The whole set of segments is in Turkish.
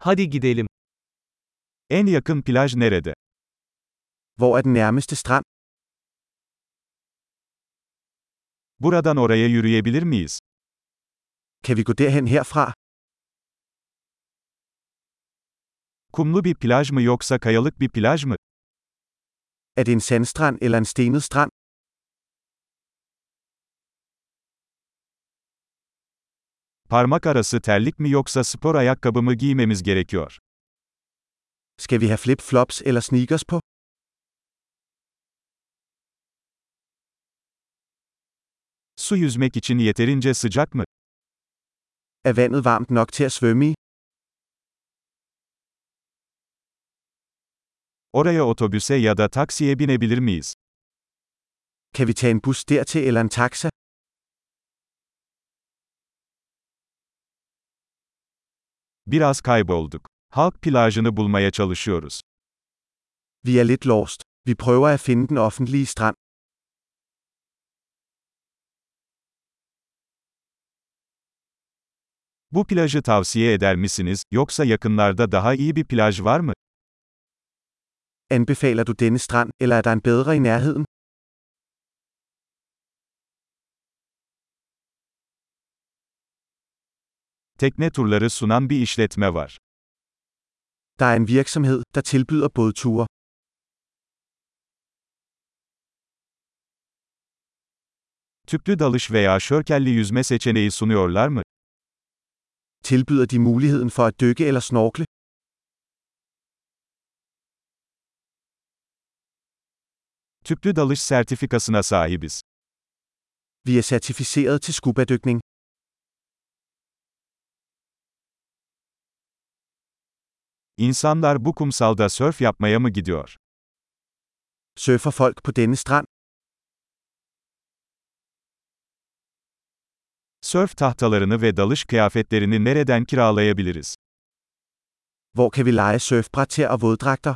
Hadi gidelim. En yakın plaj nerede? Hvor er den nærmeste strand? Buradan oraya yürüyebilir miyiz? Kan vi gå derhen herfra? Kumlu bir plaj mı yoksa kayalık bir plaj mı? Er det en sandstrand eller en stenet strand? Parmak arası terlik mi yoksa spor ayakkabı mı giymemiz gerekiyor? Skal vi have flip-flops eller sneakers på? Su yüzmek için yeterince sıcak mı? Er vandet varmt nok til at svømme i? Oraya otobüse ya da taksiye binebilir miyiz? Kan vi tage en bus dertil eller en taxa? Biraz kaybolduk. Halk plajını bulmaya çalışıyoruz. Vi er lidt lost. Vi prøver at finde den offentlige strand. Bu plajı tavsiye eder misiniz yoksa yakınlarda daha iyi bir plaj var mı? Anbefaler du denne strand, eller er der en bedre i nærheden? Tekne turları sunan bir işletme var. Der er en virksomhed, der tilbyder både ture. Tüplü dalış veya şörkelli yüzme seçeneği sunuyorlar mı? Tilbyder de muligheden for at dykke eller snorkle? Tüplü dalış sertifikasına sahibiz. Vi er certificeret til skubadykning. İnsanlar bu kumsalda sörf yapmaya mı gidiyor? Surfer folk på denne strand? Sörf tahtalarını ve dalış kıyafetlerini nereden kiralayabiliriz? Hvor kan vi lege surfbræt til og våddragter?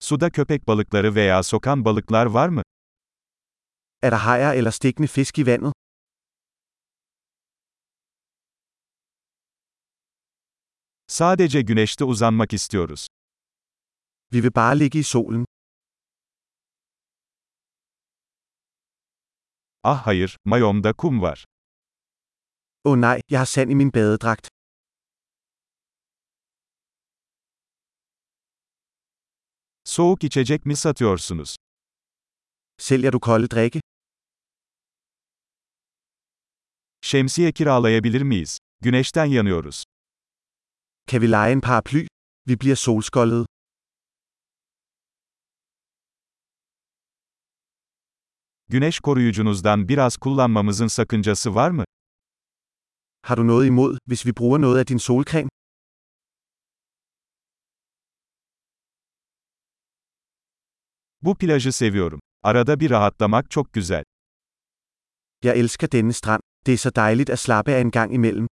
Suda köpek balıkları veya sokan balıklar var mı? Er der hajer eller stikkende fisk i vandet? Sadece güneşte uzanmak istiyoruz. Vi vil bare ligge i solen. Ah hayır, mayomda kum var. Åh oh nej, jeg har sand i min badedragt. Soğuk içecek mi satıyorsunuz? Sælger du kolde drikke? Şemsiye kiralayabilir miyiz? Güneşten yanıyoruz. Kan vi lege en paraply? Vi bliver solskoldede. Güneş koruyucunuzdan biraz kullanmamızın sakıncası var mı? Har du noget imod, hvis vi bruger noget af din solcreme? Bu plajı seviyorum. Arada bir rahatlamak çok güzel. Jeg elsker denne strand. Det er så dejligt at slappe af en gang imellem.